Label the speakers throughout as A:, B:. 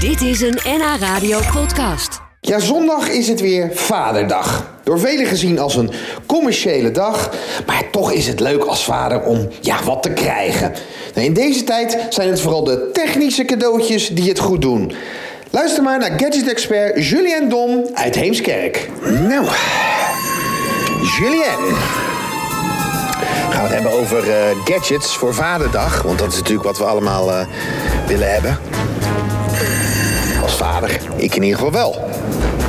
A: Dit is een NH Radio podcast.
B: Ja, zondag is het weer Vaderdag. Door velen gezien als een commerciële dag, maar toch is het leuk als vader om ja, wat te krijgen. Nou, in deze tijd zijn het vooral de technische cadeautjes die het goed doen. Luister maar naar gadget-expert Julien Dom uit Heemskerk. Nou, Julien. We gaan het hebben over eh, gadgets voor Vaderdag, want dat is natuurlijk wat we allemaal eh, willen hebben. Als vader. Ik in ieder geval wel.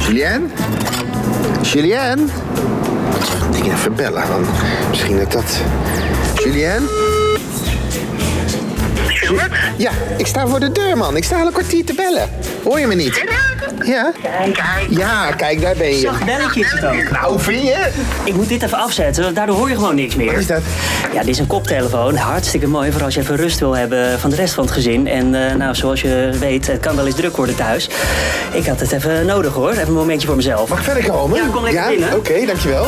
B: Julien? Julien? Ik ga even bellen, want misschien dat dat... Julien? Ja, ik sta voor de deur, man. Ik sta al een kwartier te bellen. Hoor je me niet? Ja? Ja, kijk, daar ben je.
C: Zacht belletje is het ook.
B: Nou, vind je?
C: Ik moet dit even afzetten, want daardoor hoor je gewoon niks meer.
B: Wat is dat?
C: Ja, dit is een koptelefoon. Hartstikke mooi voor als je even rust wil hebben van de rest van het gezin. En eh, nou, zoals je weet, het kan wel eens druk worden thuis. Ik had het even nodig hoor. Even een momentje voor mezelf.
B: Mag ik verder komen?
C: Ja, kom lekker binnen.
B: Oké, dankjewel.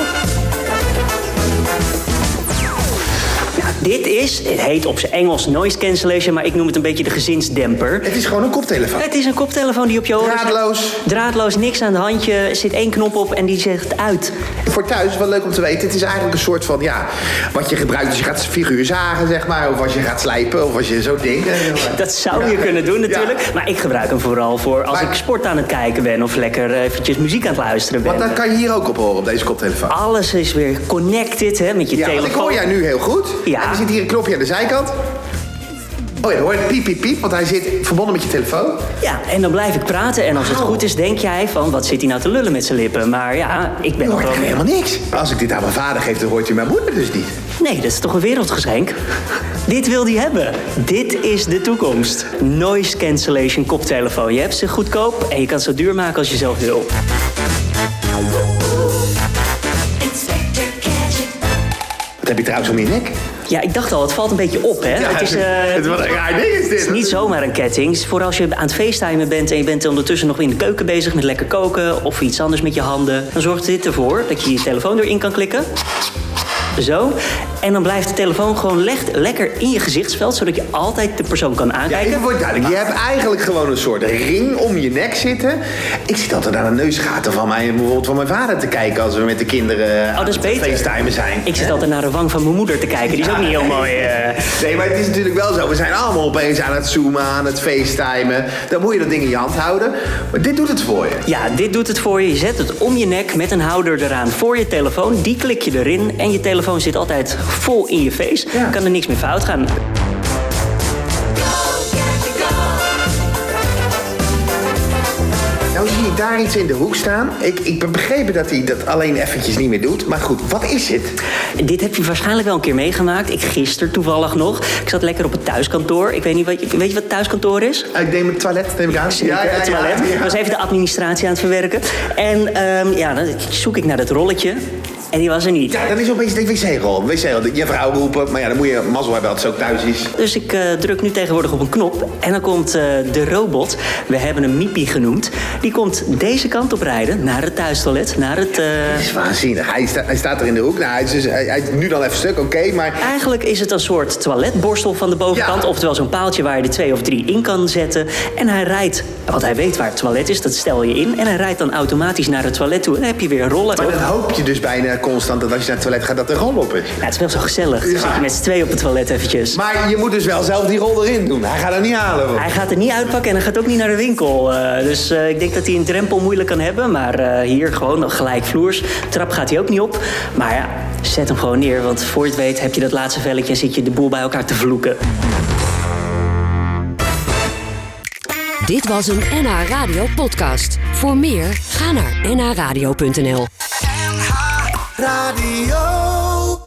C: Ja, dit is, het heet op zijn Engels noise cancellation, maar ik noem het een beetje de gezinsdemper.
B: Het is gewoon een koptelefoon.
C: Het is een koptelefoon die op je oren zit.
B: Draadloos.
C: Draadloos, niks aan het handje. Er zit één knop op en die zegt uit.
B: Voor thuis, wel leuk om te weten. Het is eigenlijk een soort van, ja, wat je gebruikt als je gaat figuur zagen, zeg maar. Of als je gaat slijpen, of als je zo'n ding... eh, zeg maar.
C: Dat zou je kunnen doen natuurlijk. Maar ik gebruik hem vooral voor als
B: Maar-
C: ik sport aan het kijken ben of lekker eh, eventjes muziek aan het luisteren ben.
B: Want dat kan je hier ook op horen, op deze koptelefoon.
C: Alles is weer connected hè, met je
B: Ja, want ik
C: telefoon.
B: hoor jou nu heel goed.
C: Ja.
B: En er zit hier een knopje aan de zijkant. Oh ja, dan hoor je piep, piep, piep, want hij zit verbonden met je telefoon.
C: Ja, en dan blijf ik praten. En als het goed is, denk jij van wat zit hij nou te lullen met zijn lippen? Maar ja, ik ben
B: Dan hoor je
C: gewoon.
B: helemaal niks. Als ik dit aan mijn vader geef, dan hoort hij mijn moeder dus niet.
C: Nee, dat is toch een wereldgeschenk? Dit wil die hebben. Dit is de toekomst. Noise cancellation koptelefoon. Je hebt ze goedkoop en je kan ze zo duur maken als je zelf wil.
D: Inspector Gadget.
B: Wat heb je trouwens om je nek?
C: Ja, ik dacht al, het valt een beetje op, hè? het is, eh,
B: het, wat een raar ding is dit.
C: Het is niet zomaar een ketting. Het is Voor als je aan het facetimen bent en je bent ondertussen nog in de keuken bezig met lekker koken of iets anders met je handen. Dan zorgt dit ervoor dat je je telefoon erin kan klikken. Zo. En dan blijft de telefoon gewoon leg- lekker in je gezichtsveld, zodat je altijd de persoon kan
B: Ja,
C: aankijken.
B: even wordt duidelijk. Je hebt eigenlijk gewoon een soort ring om je nek zitten. Ik zit altijd aan de neusgaten van mij, bijvoorbeeld van mijn vader te kijken als we met de kinderen aan
C: dat is
B: het
C: beter.
B: facetimen zijn.
C: Ik zit altijd naar de wang van mijn moeder te kijken. Die is ook niet heel mooi. eh.
B: Nee, maar het is natuurlijk wel zo. We zijn allemaal opeens aan het zoomen, aan het facetimen. Dan moet je dat ding in je hand houden. Maar dit doet het voor je.
C: Ja, dit doet het voor je. Je zet het om je nek met een houder eraan voor je telefoon. Die klik je erin en je telefoon zit altijd vol in je face.
B: Ja.
C: Kan er niks meer fout gaan.
B: Nou zie ik daar iets in de hoek staan. Ik, ik ben begrepen dat hij dat alleen eventjes niet meer doet. Maar goed, wat is het?
C: Dit heb je waarschijnlijk wel een keer meegemaakt. Ik gisteren toevallig nog. Ik zat lekker op het thuiskantoor. Ik weet niet, wat- weet je wat thuiskantoor is?
B: Ah, Ik neem het toilet, neem ik aan. Eh,
C: Zeker, het toilet. Ik was even de administratie aan het verwerken. En ehm, ja, dan zoek ik naar dat rolletje. En die was er niet.
B: Ja, dan is opeens de wc-rol. Wc-rol, je vrouw roepen. Maar ja, dan moet je mazzel hebben dat ze ook thuis is.
C: Dus ik eh, druk nu tegenwoordig op een knop. En dan komt eh, de robot, we hebben hem Miepie genoemd. Die komt deze kant op rijden, naar het thuistoilet, naar het... eh,
B: Dat is waanzinnig. Hij, sta- hij staat er in de hoek. Nou, hij is dus, hij, hij is nu dan even stuk, oké. maar
C: Eigenlijk is het een soort toiletborstel van de bovenkant.
B: Ja.
C: Oftewel zo'n paaltje waar je er twee of drie in kan zetten. En hij rijdt, want hij weet waar het toilet is, dat stel je in. En hij rijdt dan automatisch naar het toilet toe. En dan heb je weer een roller.
B: Maar dan hoop je dus bijna constant dat als je naar het toilet gaat, dat er rol op is.
C: Nou, het is wel zo gezellig. Dan
B: Ja.
C: zit je met z'n twee op het toilet eventjes.
B: Maar je moet dus wel zelf die rol erin doen. Hij gaat er niet halen. hoor.
C: Hij gaat er niet uitpakken en hij gaat ook niet naar de winkel. Eh, dus eh, ik denk dat hij een drempel moeilijk kan hebben. Maar eh, hier gewoon nog gelijk vloers. Trap gaat hij ook niet op. Maar ja, zet hem gewoon neer. Want voor je het weet heb je dat laatste velletje en zit je de boel bij elkaar te vloeken.
A: Dit was een NH Radio podcast. Voor meer, ga naar nhradio.nl.
E: Radio.